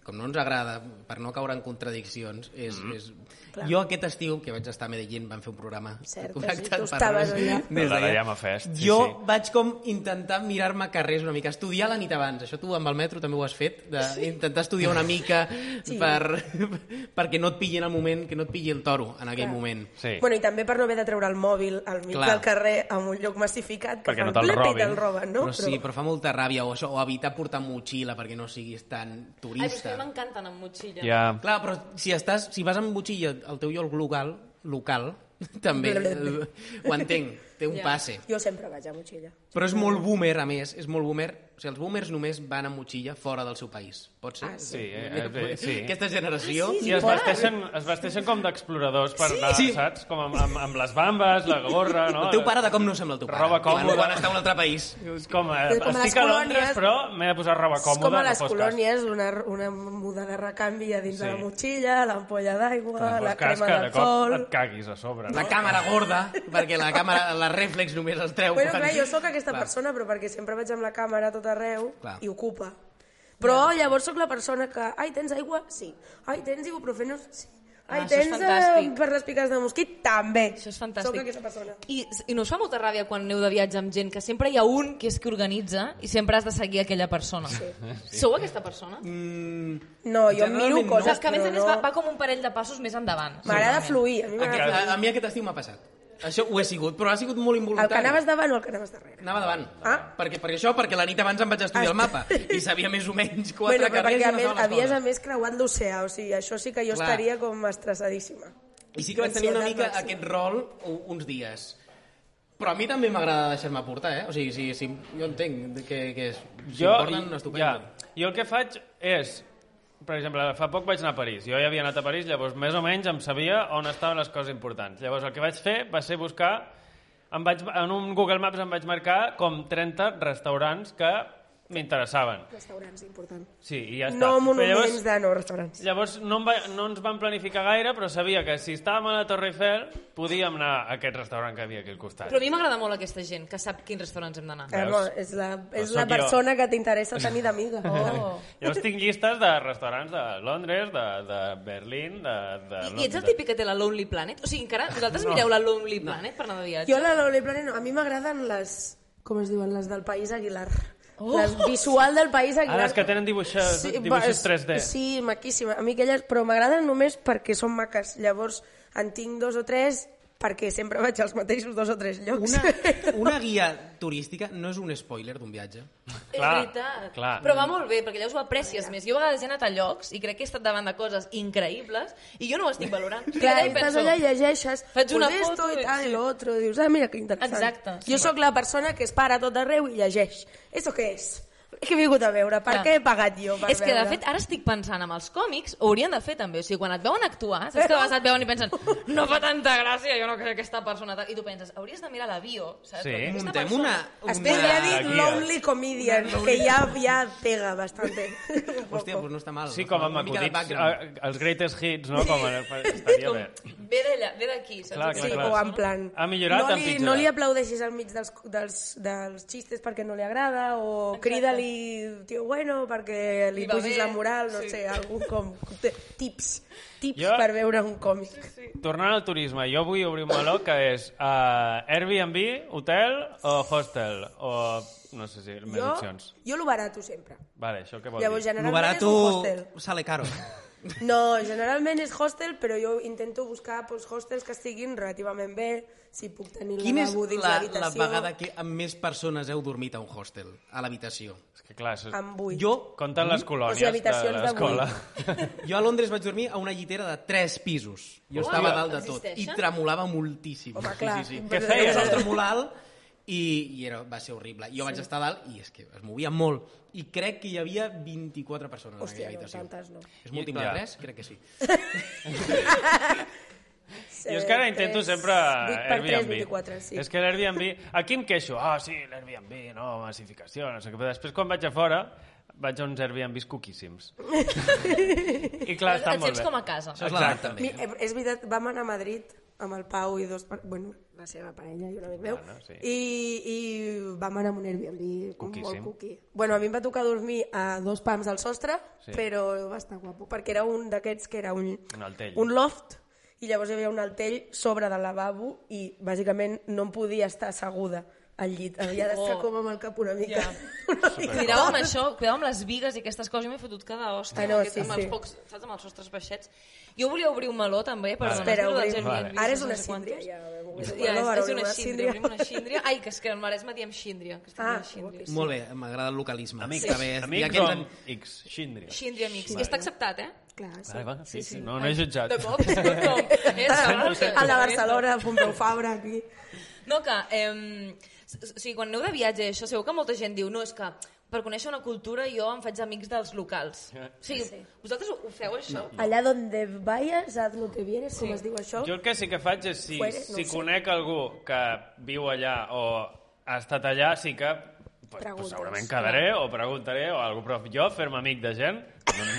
S2: com no ens agrada, per no caure en contradiccions, és... Mm -hmm.
S5: Mm-hmm.
S2: és... Jo aquest estiu, que vaig estar a Medellín, vam fer un programa
S3: Cert, sí,
S2: connectat
S3: tu
S2: per
S3: estaves
S2: res,
S3: allà.
S4: De
S2: des
S4: la
S2: d'allà.
S4: Llama Fest, sí,
S2: jo
S4: sí.
S2: vaig com intentar mirar-me carrers una mica, estudiar la nit abans, això tu amb el metro també ho has fet, de intentar estudiar una mica sí. per, perquè no et pilli en el moment, que no et pilli el toro en aquell moment.
S4: Sí.
S3: Bueno, i també per no haver de treure el mòbil al mig
S2: Clar.
S3: del carrer en un lloc massificat que
S4: Perquè no
S3: fan
S4: te'l
S3: blip i
S4: robin.
S3: te'l roben, no?
S2: Però, però sí, però fa molta ràbia, o, això, o evitar portar motxilla perquè no siguis tan turista.
S5: Ai, però és que a mi m'encanten amb motxilla.
S4: Ja...
S2: Clar, però si, estàs, si vas amb motxilla al teu lloc local, local també eh, ho entenc, té un passe.
S3: Jo sempre vaig a motxilla.
S2: Però és molt boomer, a més, és molt boomer. O sigui, els boomers només van amb motxilla fora del seu país. Pot ser?
S3: Ah, sí. Ah,
S4: Sí, eh, eh, sí.
S2: Aquesta generació...
S4: I es vesteixen, es vesteixen com d'exploradors per anar,
S2: Sí.
S4: saps? Com amb, amb, amb les bambes, la gorra, no?
S2: El teu pare de com no sembla el teu pare.
S4: Roba
S2: quan,
S4: còmoda.
S2: quan està a un altre país.
S4: És com, eh,
S3: Com a les
S4: estic a Londres,
S3: colònies.
S4: però m'he de posar roba
S3: És
S4: còmoda.
S3: com a
S4: no
S3: les
S4: fos cas.
S3: colònies, una, una muda de recanvi a dins
S4: Sí.
S3: de la motxilla, l'ampolla d'aigua,
S4: No fos
S3: la
S4: cas
S3: crema
S4: que
S3: del
S4: de cop
S3: sol...
S4: et caguis a sobre, no?
S2: La càmera gorda, perquè la càmera, la reflex només els treu.
S3: Bueno,
S2: quan-
S3: clar, jo sóc aquesta
S2: Clar.
S3: persona, però perquè sempre vaig amb la càmera a tot arreu
S2: Clar.
S3: i ocupa. Però llavors sóc la persona que... Ai, tens aigua? Sí. Ai, tens ibuprofenos? Sí. Ai,
S5: Ah, això és
S3: tens eh,
S5: fantàstic.
S3: per les piques de mosquit? També.
S5: Això és fantàstic.
S3: Sóc aquesta persona.
S5: I, I no us fa molta ràbia quan aneu de viatge amb gent que sempre hi ha un que és que organitza i sempre has de seguir aquella persona. Sí. Sou aquesta persona? Mm,
S3: No, jo miro
S2: Generalment no.
S3: coses,
S5: que a més a
S3: però
S5: més
S3: no...
S5: va, va com un parell de passos més endavant.
S3: M'agrada fluir, a mi m'agrada
S2: Aquest,
S3: fluir.
S2: a, a mi aquest estiu m'ha passat. Això ho he sigut, però ha sigut molt
S3: El
S2: involuntari.
S3: que anaves davant o el que anaves darrere?
S2: Anava davant.
S3: Ah.
S2: Perquè, perquè això, perquè la nit abans em vaig estudiar el mapa i sabia més o menys quatre
S3: bueno, però
S2: carrers
S3: perquè
S2: i
S3: a
S2: no
S3: més,
S2: sabia les
S3: havies a
S2: coses.
S3: més creuat l'oceà, o sigui, això sí que jo
S2: Clar.
S3: estaria com estressadíssima.
S2: I sí que vaig tenir una
S3: Ansietat
S2: mica
S3: màxima.
S2: aquest rol u- uns dies. Però a mi també m'agrada deixar-me portar, eh? O sigui, si, si, jo entenc que, que és... Si
S4: jo,
S2: em porten, estupendo.
S4: Ja, jo el que faig és... Per exemple, fa poc vaig anar a París. Jo ja havia anat a París, llavors més o menys em sabia on estaven les coses importants. Llavors el que vaig fer va ser buscar... Em vaig, en un Google Maps em vaig marcar com 30 restaurants que m'interessaven.
S3: Restaurants, important.
S4: Sí, i ja està.
S3: No
S4: Però
S3: monuments
S4: llavors,
S3: de no restaurants.
S4: Llavors no, em va, no ens vam planificar gaire, però sabia que si estàvem a la Torre Eiffel podíem anar a aquest restaurant que havia aquí al costat.
S5: Però a mi m'agrada molt aquesta gent que sap quins restaurants hem d'anar.
S3: Eh, no, és la, és
S4: sóc
S3: la
S4: jo.
S3: persona que t'interessa tenir d'amiga. Oh.
S4: Llavors tinc llistes de restaurants de Londres, de, de Berlín, de, de
S5: I, I ets
S4: Londres.
S5: el típic que té la Lonely Planet? O sigui, encara vosaltres no. mireu la Lonely Planet per anar de viatge?
S3: Jo la Lonely Planet no, a mi m'agraden les... Com es diuen? Les del País Aguilar. Oh. Les visual del País
S4: Ah,
S3: Aguilar.
S4: les que tenen dibuixos, sí,
S3: va,
S4: dibuixos
S3: és-
S4: 3D. Sí.
S3: Sí, maquíssima. A mi aquelles, però m'agraden només perquè són maques. Llavors, en tinc dos o tres perquè sempre vaig als mateixos dos o tres llocs.
S2: Una, una guia turística no és un spoiler d'un viatge.
S5: És
S4: Clar,
S5: veritat.
S4: clar.
S5: Però va molt bé, perquè llavors ho aprecies més. Jo a vegades he anat a llocs i crec que he estat davant de coses increïbles i jo no ho estic valorant.
S3: Clar,
S5: Ara hi
S3: estàs
S5: penso,
S3: allà i llegeixes
S5: Faig una
S3: pues esto
S5: foto
S3: i
S5: i-
S3: tal, i
S5: sí.
S3: l'altre, dius, ah, mira que interessant.
S5: Exacte.
S3: Jo sóc la persona que es para a tot arreu i llegeix. Eso què és? Què he vingut a veure? Per
S5: Clar.
S3: què he pagat jo per
S5: És que, de
S3: veure?
S5: fet, ara estic pensant amb els còmics, ho haurien de fer també. O sigui, quan et veuen actuar, saps que a vegades et veuen i pensen no fa tanta gràcia, jo no crec que aquesta persona... tal", I tu penses, hauries de mirar la bio, saps?
S4: Sí.
S5: Perquè aquesta
S2: Muntem una...
S5: persona-
S2: una...
S3: Es podria dir
S4: guia.
S3: Lonely Comedian, que ja, ja pega bastante.
S2: Hòstia, doncs no està mal.
S4: Sí, com amb
S2: Una mica de
S4: acudits,
S2: background.
S4: eh, els greatest hits, no? Com a, estaria bé.
S5: Ve d'allà, ve d'aquí, saps?
S4: Ah, Clar, clar,
S3: Sí,
S4: clar.
S3: o en plan...
S4: Ha millorat, eh?
S3: no
S4: ha
S3: li,
S4: empitjorat.
S3: no li aplaudeixis al mig dels, dels, dels xistes perquè no li agrada, o crida-li digue-li, tio, bueno, perquè li,
S5: Li va
S3: pugis
S5: bé.
S3: la moral, no
S5: Sí.
S3: sé, algun com... Tips, tips
S4: Jo-
S3: per veure un còmic.
S4: Tornant al turisme, jo vull obrir un meló que és uh, Airbnb, hotel o hostel? O no sé si més
S3: Jo,
S4: opcions.
S3: jo lo barato sempre.
S4: Vale, això què vol
S3: Llavors,
S2: Lo
S4: dir?
S3: generalment
S2: barato
S3: és un hostel.
S2: sale caro.
S3: No, generalment és hostel, però jo intento buscar pues, hostels que estiguin relativament bé, si puc tenir
S2: Quina és
S3: lavabo dins
S2: la, la
S3: l'habitació.
S2: vegada que amb més persones heu dormit a un hostel, a l'habitació?
S4: És que clar, això...
S3: Amb vuit.
S2: Jo,
S4: Compten les colònies de
S3: habitacions de
S4: l'escola.
S2: jo a Londres vaig dormir a una llitera de 3 pisos. Jo estava dalt de tot i
S5: Existeixen?
S2: tremolava moltíssim.
S3: Home, clar.
S2: Sí, sí, sí.
S4: Què
S2: Feia
S4: feies?
S2: el sostre molt alt i, i era, va ser horrible. Jo sí. vaig estar dalt i és que es movia molt. I crec que hi havia 24 persones
S3: Hòstia,
S2: en
S3: no,
S2: aquella habitació.
S3: tantes no.
S2: És múltiple
S4: Ja.
S2: de 3? Crec que sí.
S4: Jo és que ara intento sempre
S3: 8 Eh, per 3,
S4: Airbnb.
S3: 24, sí.
S4: És que l'Airbnb... Aquí em queixo. Ah, sí, l'Airbnb, no, massificació, no sé què. Però després, quan vaig a fora, vaig a uns Airbnbs cuquíssims. I clar,
S5: Et-
S4: estan
S5: et
S4: molt
S5: sents
S4: bé.
S5: com a casa.
S2: Això és l'edat,
S4: Exacte.
S2: també.
S3: Mi, eh, és veritat, vam anar a Madrid amb el Pau i dos... par- Bueno, la seva parella i un amic meu.
S4: Ah, no, sí.
S3: I, I vam anar amb un Airbnb com molt
S4: Cuquíssim.
S3: cuqui. Bueno, a mi em va tocar dormir a dos pams al sostre,
S4: Sí.
S3: sí. però va estar guapo, perquè era un d'aquests que era un,
S4: Un altell.
S3: un loft i llavors hi havia un altell sobre del lavabo i bàsicament no em podia estar asseguda al llit. Havia d'estar
S5: Oh.
S3: com amb el cap una mica.
S5: Ja.
S3: Una mica
S5: Cuidau amb això, cuidau amb les vigues i aquestes coses, jo m'he fotut cada hòstia
S3: Ah, no,
S5: amb,
S3: sí,
S5: amb
S3: sí.
S5: els pocs, saps, amb els sostres baixets. Jo volia obrir un meló també, però
S4: Vale.
S5: no,
S3: Espera,
S5: és lo dels
S3: obrim.
S5: Airbnb,
S3: Ara és
S5: no
S3: una
S5: sé
S3: síndria.
S5: quantos.
S3: Ja,
S5: Ja, és,
S3: Ara
S5: és una síndria, obrim una síndria. Ai, que és que al Maresme diem síndria. Que
S3: Ah,
S5: ah, síndria.
S3: guapíssim.
S2: Molt bé, m'agrada el localisme.
S4: Amics,
S2: Està bé.
S4: amics doncs.
S2: Hi ha aquells
S4: com
S2: am-
S4: X, Xindria.
S5: Síndria, amics. I està acceptat, eh?
S3: Clar, sí.
S4: Vale, va, sí, sí, no, no he jutjat.
S5: De cop, és que no. Eh, Barcelona.
S3: a la Barcelona, Pompeu Fabra, aquí.
S5: No, que... Eh, o sigui, quan aneu de viatge, això segur que molta gent diu no, és que per conèixer una cultura jo em faig amics dels locals. O sigui, vosaltres ho, ho feu, això? No.
S3: Allà donde vayas, haz lo que vienes, com es diu això.
S4: Jo el que sí que faig és si,
S3: Fuere, no ho
S4: si
S3: sé.
S4: conec algú que viu allà o ha estat allà, sí que pues, pues
S3: Preguntes.
S4: segurament quedaré o preguntaré o algú, però jo fer-me amic de gent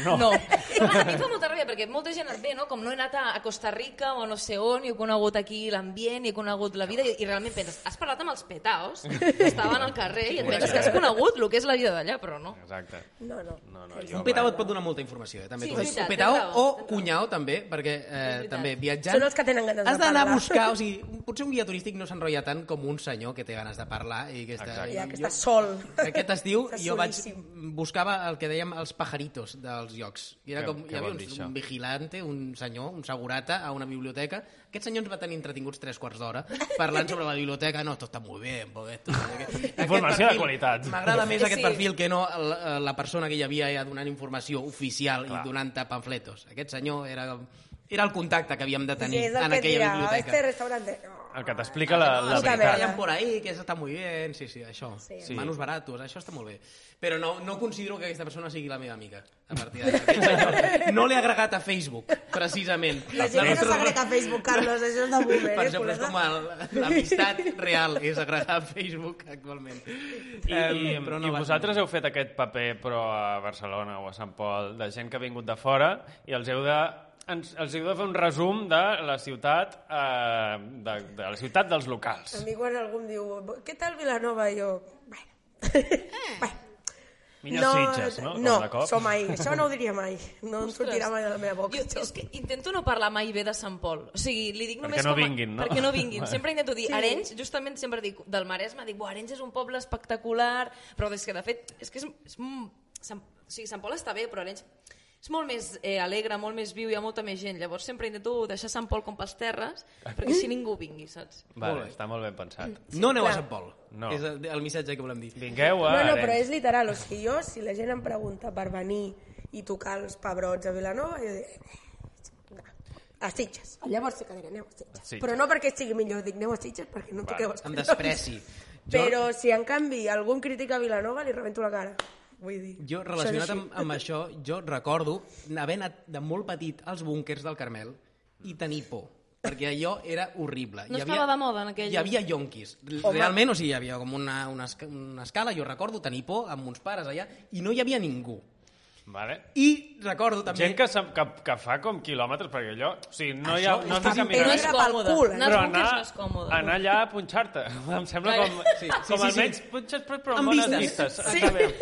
S4: no.
S5: No. a mi em fa molta ràbia, perquè molta gent et ve, no? Com no he anat a a Costa Rica o no sé on, i he conegut aquí l'ambient, i he conegut la vida, i, i realment penses, has parlat amb els petaos que estaven al carrer i et penses que has conegut el que és la vida d'allà, però no.
S4: Exacte.
S3: No, no.
S4: No, no, jo
S2: Un petau et pot donar molta informació, eh? també.
S5: Sí,
S2: t'ho dic.
S5: és veritat,
S2: un petau
S5: tens raó,
S2: o
S5: tens raó.
S2: cunyau, també, perquè eh,
S5: veritat.
S2: també viatjant...
S3: Són els que tenen ganes de
S2: Has d'anar a
S3: parlar.
S2: buscar, o sigui, un- potser un guia turístic no s'enrotlla tant com un senyor que té ganes de parlar i que està...
S4: Exacte.
S3: Ja que
S2: jo-
S3: està sol.
S2: Aquest estiu
S3: Està
S2: jo vaig
S3: solíssim.
S2: buscava el que dèiem els pajaritos dels llocs. I era
S4: Què-
S2: com,
S4: què
S2: hi havia
S4: vol
S2: un,
S4: dir això?
S2: un vigilante, un senyor, un segurata a una biblioteca. Aquest senyor ens va tenir entretinguts tres quarts d'hora parlant sobre la biblioteca. No, tot està molt bé. Porque esto, aquest
S4: Informació de
S2: perfil-
S4: qualitat.
S2: M'agrada més
S5: Sí.
S2: aquest perfil que no eh, la, la persona que hi havia ja donant informació oficial Clar. i donant-te pamfletos. Aquest senyor era, era el contacte que havíem de tenir
S3: és el
S2: en
S3: que
S2: aquella
S3: dirà, a
S2: biblioteca.
S3: este restaurante. No.
S4: El que t'explica la, la
S3: Puta
S4: veritat.
S3: merda.
S2: Vayan por ahí, que eso está muy bien, sí, sí, això.
S4: Sí.
S2: Sí. Manos baratos, això està molt bé. Però no, no considero que aquesta persona sigui la meva amiga, a partir d'ara. Aquest senyor no l'he agregat a Facebook, precisament.
S3: La gent que no
S2: nostra-
S3: s'agrega a Facebook, Carlos, això és de boomer.
S2: Per
S3: eh,
S2: exemple, és
S3: col·lega?
S2: com el- l'amistat real és agregar a Facebook actualment.
S4: I, i,
S2: Em,
S4: i
S2: va ser
S4: vosaltres
S2: molt
S4: heu fet aquest paper però a Barcelona o a Sant Pol de gent que ha vingut de fora i els heu de ens, els heu de fer un resum de la ciutat eh, de, de la ciutat dels locals.
S3: A mi quan algú em diu, què tal Vilanova? I jo, bueno, bueno.
S4: Millor Sitges, no? Com
S3: No,
S4: de cop.
S3: som ahí. Això no ho diria mai. No em sortirà mai de la meva boca.
S5: Jo,
S3: això.
S5: és que intento no parlar mai bé de Sant Pol. O sigui, li dic
S4: Perquè
S5: només
S4: no
S5: com a-
S4: vinguin, no?
S5: Perquè no vinguin. Sempre intento
S3: Sí.
S5: dir sí. Arenys, justament sempre dic del Maresme, dic, "Buah, Arenys és un poble espectacular, però és que de fet, és que és, és un- Sant, o sigui, Sant Pol està bé, però Arenys és molt més eh, alegre, molt més viu, hi ha molta més gent. Llavors sempre intento deixar Sant Pol com pels terres, perquè així ningú vingui, saps?
S4: Vale,
S2: Molt bé.
S4: està molt ben pensat.
S2: maco. No aneu a Sant Pol.
S4: No.
S2: És el, el missatge que volem dir.
S4: Vingueu a
S3: No, no, però
S4: Arenys.
S3: és literal. O sigui, jo, si la gent em pregunta per venir i tocar els pebrots a Vilanova, jo dic... "Eh, no, A Sitges. Llavors sí que diré, aneu a Sitges.
S4: Sitges.
S3: Però no perquè sigui millor, dic aneu a Sitges perquè no toqueu els
S2: Em
S3: pebrots.
S2: despreci.
S3: Però si en canvi algú em critica a Vilanova, li rebento la cara. Vull dir...
S2: Jo,
S3: això és
S2: relacionat
S3: així.
S2: amb, amb això, jo recordo haver anat de molt petit als búnkers del Carmel i tenir por perquè allò era horrible.
S5: No estava de moda en aquell-
S2: Hi havia yonquis. Realment, o sigui, hi havia com una, una, esca- una escala, jo recordo tenir por amb uns pares allà, i no hi havia ningú.
S4: Vale.
S2: I recordo també...
S4: Gent que, se- que, que fa com quilòmetres, perquè allò... O sigui, no hi ha...
S2: Això
S4: No
S2: està
S4: està
S2: ben
S4: caminant.
S5: No és
S3: Era pel
S5: còmode.
S3: cul, eh?
S5: Anar
S4: però anar,
S5: als búnquers no és còmode.
S4: anar allà a punxar-te. Em sembla
S5: Clar.
S4: com...
S2: Sí,
S4: Sí,
S2: sí,
S4: sí,
S2: sí,
S4: com
S2: sí.
S4: almenys punxes, però, però
S2: Amb
S4: amb bones
S2: vistes.
S4: vistes.
S2: Sí.
S4: Està bé.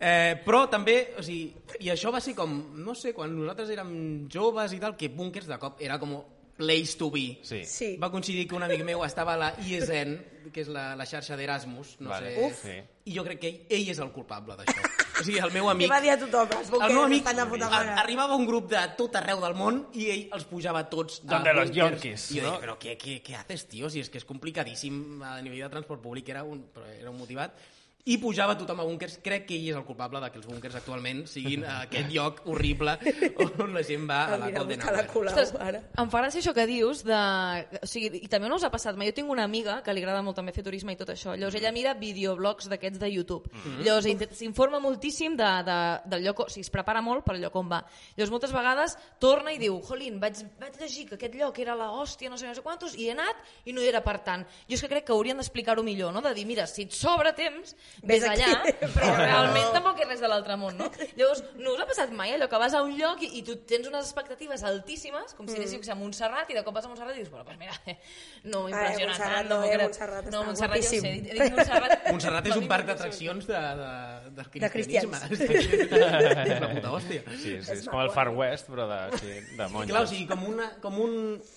S2: Eh, però també, o sigui, i això va ser com, no sé, quan nosaltres érem joves i tal, que búnkers de cop era com place to be.
S4: Sí.
S3: Sí.
S2: Va coincidir que un amic meu estava a la ISN, que és la, la xarxa d'Erasmus, no
S4: Vale,
S2: sé.
S4: Uf. sí.
S2: I jo crec que ell, ell és el culpable d'això. O sigui, el meu
S3: I
S2: amic...
S3: va dir a tothom, els
S2: El meu
S3: boquers
S2: amic
S3: estan a puta
S2: a-
S3: mare.
S2: arribava un grup de tot arreu del món i ell els pujava tots a
S4: Donde los
S2: búnkers.
S4: yonkis,
S2: I jo
S4: no?
S2: deia, però què, què, què haces, tio? Si és que és complicadíssim a nivell de transport públic, era un, però era un motivat. I pujava tothom a búnkers. Crec que ell és el culpable de que els búnkers actualment siguin a aquest lloc horrible on la gent va a la
S3: Anirà a
S2: Golden
S3: buscar la
S2: Hour.
S3: colau,
S5: Ostres,
S3: ara.
S5: em fa gràcia això que dius de... o sigui, i també no us ha passat mai, jo tinc una amiga que li agrada molt també fer turisme i tot això, llavors ella mira videoblogs d'aquests de YouTube
S3: Mhm.
S5: llavors int- s'informa moltíssim de, de, del lloc, o sigui, es prepara molt per al lloc on va llavors moltes vegades torna i diu jolín, vaig, vaig llegir que aquest lloc era la hòstia, no sé, no sé quantos, i he anat i no hi era per tant, jo és que crec que haurien d'explicar-ho millor, no? de dir, mira, si et sobra temps
S3: Ves
S5: ves
S3: aquí.
S5: allà, però
S3: Però-
S5: realment tampoc tampoc és res de l'altre món, no? Llavors, no us ha passat mai allò que vas a un lloc i, i tu tens unes expectatives altíssimes, com si
S3: Mm.
S5: anéssiu a Montserrat, i de cop vas a Montserrat i dius, bueno, pues mira, eh, no m'impressiona
S3: Montserrat
S5: tant. no,
S3: no,
S5: m'he
S3: eh,
S5: quedat-
S3: Montserrat
S5: no,
S3: està
S5: Montserrat, jo ho sé,
S3: guapíssim.
S5: he dit Montserrat.
S2: Montserrat és
S5: per
S2: un
S5: mi
S2: parc
S5: m'impressiona.
S2: d'atraccions de, de, del
S3: De
S2: cristianisme.
S3: cristians.
S2: És una puta hòstia.
S4: Sí, sí, és
S3: una
S4: com el
S3: guai.
S4: Far West, però de, sí, de
S2: I
S4: monges.
S2: clar, o sigui, com, una, com un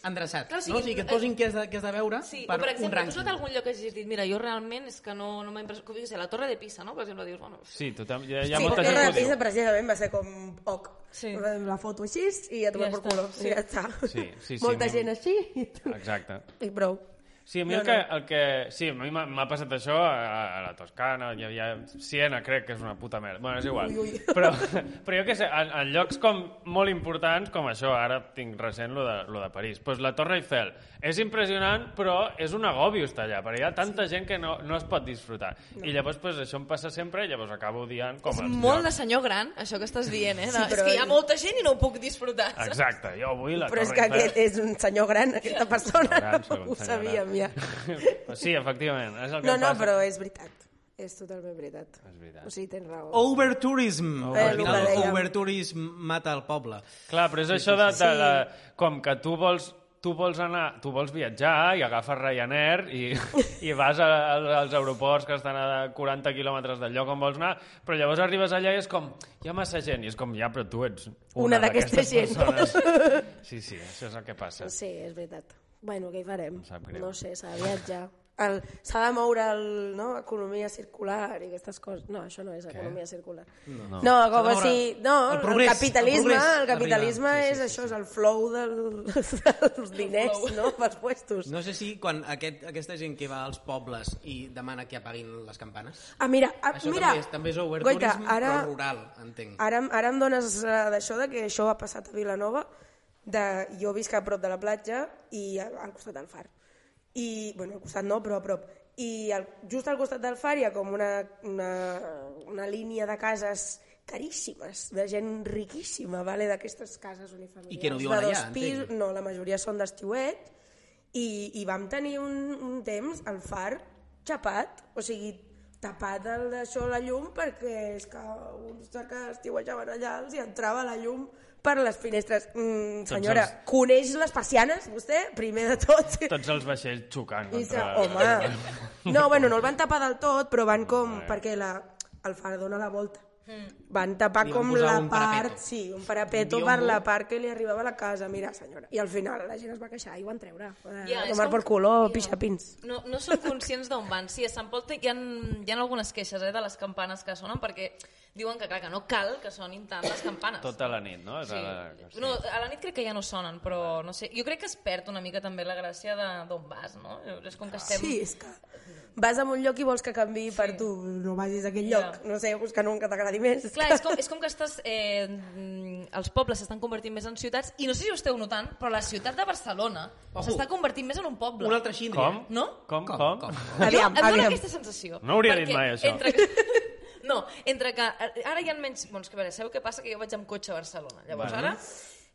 S2: endreçat.
S5: Clar, o sigui,
S2: no? o sigui, que et posin què has de, què has de veure
S5: Sí,
S2: per,
S5: o per
S2: un
S5: exemple, tu has
S2: rànquing.
S5: anat a algun lloc que hagis dit, mira, jo realment és que no, no m'ha impressionat, com jo què sé, la Torre de Pisa, no? Per exemple, dius, bueno,
S4: Sí, tothom, hi ha, hi ha
S3: Sí,
S4: molta
S3: perquè
S4: gent que ho
S3: la pista
S4: diu.
S3: precisament va ser com oc.
S5: Sí.
S3: La foto així i a
S5: Ja
S3: tomar per
S5: està,
S3: culo.
S5: sí.
S3: Sí. Ja està.
S4: Sí, sí, sí,
S3: Molta
S4: a mi-
S3: gent així i, tu...
S4: Exacte.
S3: i prou.
S4: Sí, a mi
S3: No,
S4: el que, el que... Sí, a mi m'ha- m'ha passat això a, a la Toscana, hi havia... Siena, crec que és una puta merda. Bueno, és igual.
S3: Ui, ui.
S4: Però, però jo què sé, en, en llocs com molt importants, com això, ara tinc recent lo de, lo de París, doncs la Torre Eiffel és impressionant, però és un agòbio estar allà, perquè hi ha tanta gent que no, no es pot disfrutar. I llavors, doncs, això em passa sempre, i llavors acabo odiant com
S5: és
S4: els
S5: molt de
S4: llocs.
S5: senyor gran, això que estàs dient, eh? De,
S3: Sí, però-
S5: És que hi ha molta gent i no ho puc disfrutar. saps?
S4: Exacte, jo vull la
S3: Però és
S4: Torre
S3: que
S4: Eiffel.
S3: aquest és un senyor gran, aquesta persona.
S4: Gran, segon
S3: Ho
S4: senyor
S3: sabíem, ja.
S4: gran. sí, efectivament, és el que
S3: No,
S4: em
S3: no,
S4: passa.
S3: però és veritat. És totalment veritat.
S4: És veritat.
S3: O sigui, tens raó.
S2: Oh. Overtourism.
S3: Eh,
S2: Al
S3: lo que
S2: final,
S3: dèiem.
S2: overtourism mata el poble.
S4: Clar, però és sí, això de, de, de, com que tu vols tu vols anar, tu vols viatjar i agafes Ryanair i, i vas a, a, als aeroports que estan a 40 quilòmetres del lloc on vols anar, però llavors arribes allà i és com, hi ha massa gent, i és com, ja, però tu ets
S3: Una d'aquestes gent.
S4: persones. Sí, sí, això és el que passa.
S3: Sí, és veritat. Bueno, què hi farem?
S4: Em sap greu.
S3: No sé, s'ha de viatjar. El- S'ha de moure el, no, economia circular i aquestes coses. No, això no és economia circular. No, no
S2: S'ha
S3: com
S2: de
S3: a si...
S2: moure
S3: No,
S2: el
S3: el,
S2: progrés, el
S3: capitalisme,
S2: progrés
S3: el, capitalisme
S2: arriba. Sí,
S3: és
S2: sí, sí,
S3: això, és el flow del, dels diners, no?, pels puestos.
S2: No sé si quan aquest, aquesta gent que va als pobles i demana que apaguin les campanes...
S3: Ah, mira, ah,
S2: Això
S3: mira.
S2: també és, també és
S3: Goita,
S2: overtourism,
S3: ara, Ah,
S2: però rural, entenc.
S3: Ara, em- ara em dones eh, d'això, de que això ha passat a Vilanova, de, jo visc a prop de la platja i a- al costat del far. I, bueno, al costat no, però a prop. I al, just al costat del far hi ha com una, una, una línia de cases caríssimes, de gent riquíssima, vale? d'aquestes cases unifamiliars.
S2: I que no viuen
S3: de dos
S2: allà,
S3: pis,
S2: entenc.
S3: No, la majoria són d'estiuet i, i vam tenir un, un temps al far xapat, o sigui, tapat el d'això la llum perquè és que uns que estiuejaven allà els hi entrava la llum per les finestres. Mm, senyora,
S4: els-
S3: coneix les persianes, vostè? Primer de tot.
S4: Tots els vaixells xocant
S3: I se,
S4: contra...
S3: home, no, bueno, no el van tapar del tot, però van com, perquè la, el far dona la volta.
S5: Mm.
S3: Van tapar
S2: Li van
S3: com
S2: posar
S3: la
S2: un
S3: part,
S2: parapeto.
S3: sí, un parapeto
S2: Un
S3: per
S2: biombo.
S3: la part que li arribava a la casa, mira, senyora. I al final la gent es va queixar i ho van treure.
S5: Ja,
S3: Yeah,
S5: és
S3: tomar
S5: com-
S3: per color,
S5: Ja.
S3: pixapins.
S5: No, no són conscients d'on van. Sí, a Sant Pol té- hi ha, hi ha algunes queixes eh, de les campanes que sonen perquè diuen que, clar, que no cal que sonin tant les campanes.
S4: Tota la nit, no? És
S5: Sí.
S4: la-
S5: No, a la nit crec que ja no sonen, però no sé. Jo crec que es perd una mica també la gràcia de- d'on vas, no? És com que estem...
S3: Sí, és que vas a un lloc i vols que canvi sí. per tu, no vagis a aquell
S5: Ja.
S3: lloc, no sé, buscant un que t'agradi més.
S5: Clar, és com, és com que estàs, eh, mm, els pobles s'estan convertint més en ciutats i no sé si ho esteu notant, però la ciutat de Barcelona
S2: Ojo.
S5: s'està convertint més en un poble.
S2: Un altre xindri.
S4: Com?
S5: No?
S4: Com?
S2: Com?
S4: Com?
S2: com?
S5: Jo,
S3: Aviam,
S5: em dóna
S3: aviam.
S5: aquesta sensació.
S4: No hauria dit
S5: Perquè
S4: mai això.
S5: Entre que... No, entre que eh, ara hi ha menys... Bueno, és que a veure, sabeu què passa? Que jo vaig amb cotxe a Barcelona. Llavors
S4: Bueno.
S5: ara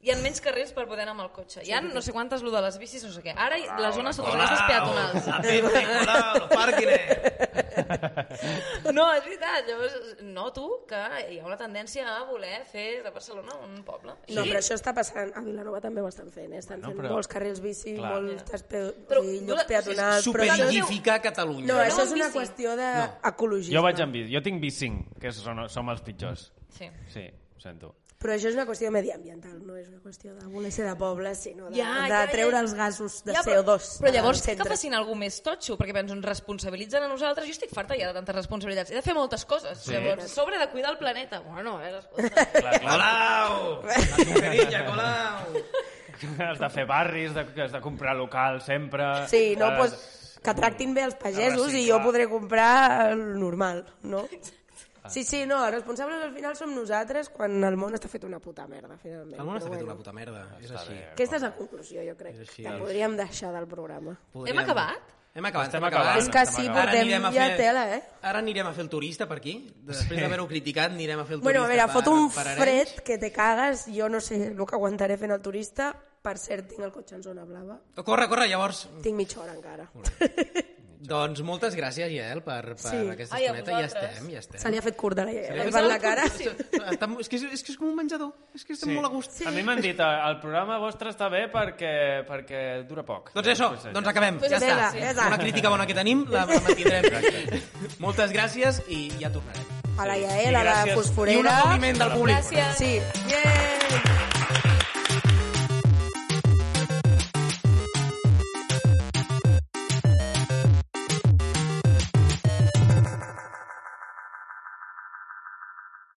S5: hi ha menys carrers per poder anar amb el cotxe. Hi ha no sé quantes, lo de les bicis, no sé què. Ara les zones són les peatonals.
S2: La gente, hola, los pàrquines.
S5: No, és veritat. Llavors, noto que hi ha una tendència a voler fer de Barcelona un poble.
S3: No, però això està passant. A Vilanova també ho estan fent, eh? Estan
S4: Bueno,
S3: fent
S4: però-
S3: molts carrils bici,
S4: Clar.
S3: molts pe...
S5: Però
S3: però, o sigui,
S5: no la-
S3: llocs peatonals... però això és-
S2: Superidificar Catalunya.
S3: No, això és
S5: en
S3: una
S5: bici.
S3: qüestió d'ecologisme.
S4: Jo vaig amb bici. Jo tinc bici 5, que són, som els pitjors.
S5: Sí.
S4: Sí, ho sento.
S3: Però això és una qüestió mediambiental, no és una qüestió de voler ser de poble, sinó de,
S5: Ja,
S3: de
S5: ja, ja.
S3: treure els gasos de
S5: Ja, però-
S3: CO2.
S5: Però llavors
S3: del
S5: que
S3: centre.
S5: facin alguna més totxo, perquè penso, ens responsabilitzen a nosaltres. Jo estic farta ja de tantes responsabilitats. He de fer moltes coses. Sí. Llavors, a sobre de cuidar el planeta. Bueno, eh, escolta.
S4: Clar, clar.
S2: Colau! Mascarilla, Colau!
S4: Has de fer barris, de, has de comprar local sempre...
S3: Sí, no,
S4: Has-
S2: Ah,
S3: pues, que tractin bé els pagesos i jo
S4: reciclar.
S3: podré comprar el normal, no? Sí, sí, no, els responsables al final som nosaltres quan el món està fet una puta merda, finalment.
S2: El món està
S3: Però
S2: fet
S3: bueno,
S2: una puta merda, és així.
S3: Aquesta és la conclusió, jo crec,
S2: És així, doncs.
S3: que
S2: els-
S3: podríem deixar del programa.
S5: Hem acabat?
S2: Hem acabat,
S4: Estem
S2: estem acabat.
S4: acabant,
S3: És que sí,
S4: estem
S2: Ara
S3: portem
S2: anirem a
S3: ja
S2: fer-
S3: tela, eh?
S2: Ara anirem a fer el turista per aquí. Després d'haver-ho criticat, anirem a fer el turista
S3: Bueno, a veure,
S2: per-
S3: fot un
S2: per Arenys.
S3: fred que te cagues, jo no sé el que aguantaré fent el turista, per cert, tinc el cotxe en zona blava,
S2: Corre, corre, llavors.
S3: tinc mitja hora encara.
S2: Doncs moltes gràcies, Yael, per, per
S3: Sí.
S2: aquesta
S5: Ai, a
S2: estoneta. Ja
S5: vosaltres.
S2: estem, ja estem.
S3: Se li ha fet curta la iaia,
S2: Sí.
S3: per la cara.
S2: Sí. Està, és, que és, és que és com un menjador. És que estem molt a gust.
S4: A mi m'han dit, eh, el programa vostre està bé perquè, perquè dura poc.
S2: Doncs això, doncs acabem.
S5: Pues
S2: ja
S5: vinga,
S2: està.
S5: sí.
S3: vinga.
S2: Una crítica bona que tenim, la, la mantindrem. Moltes gràcies i ja tornarem.
S3: A la
S4: Sí.
S3: Iael, a
S4: I
S3: la
S4: gràcies.
S2: I un
S3: fosforera.
S2: aplaudiment del públic.
S5: Gràcies.
S3: Sí. Yeah.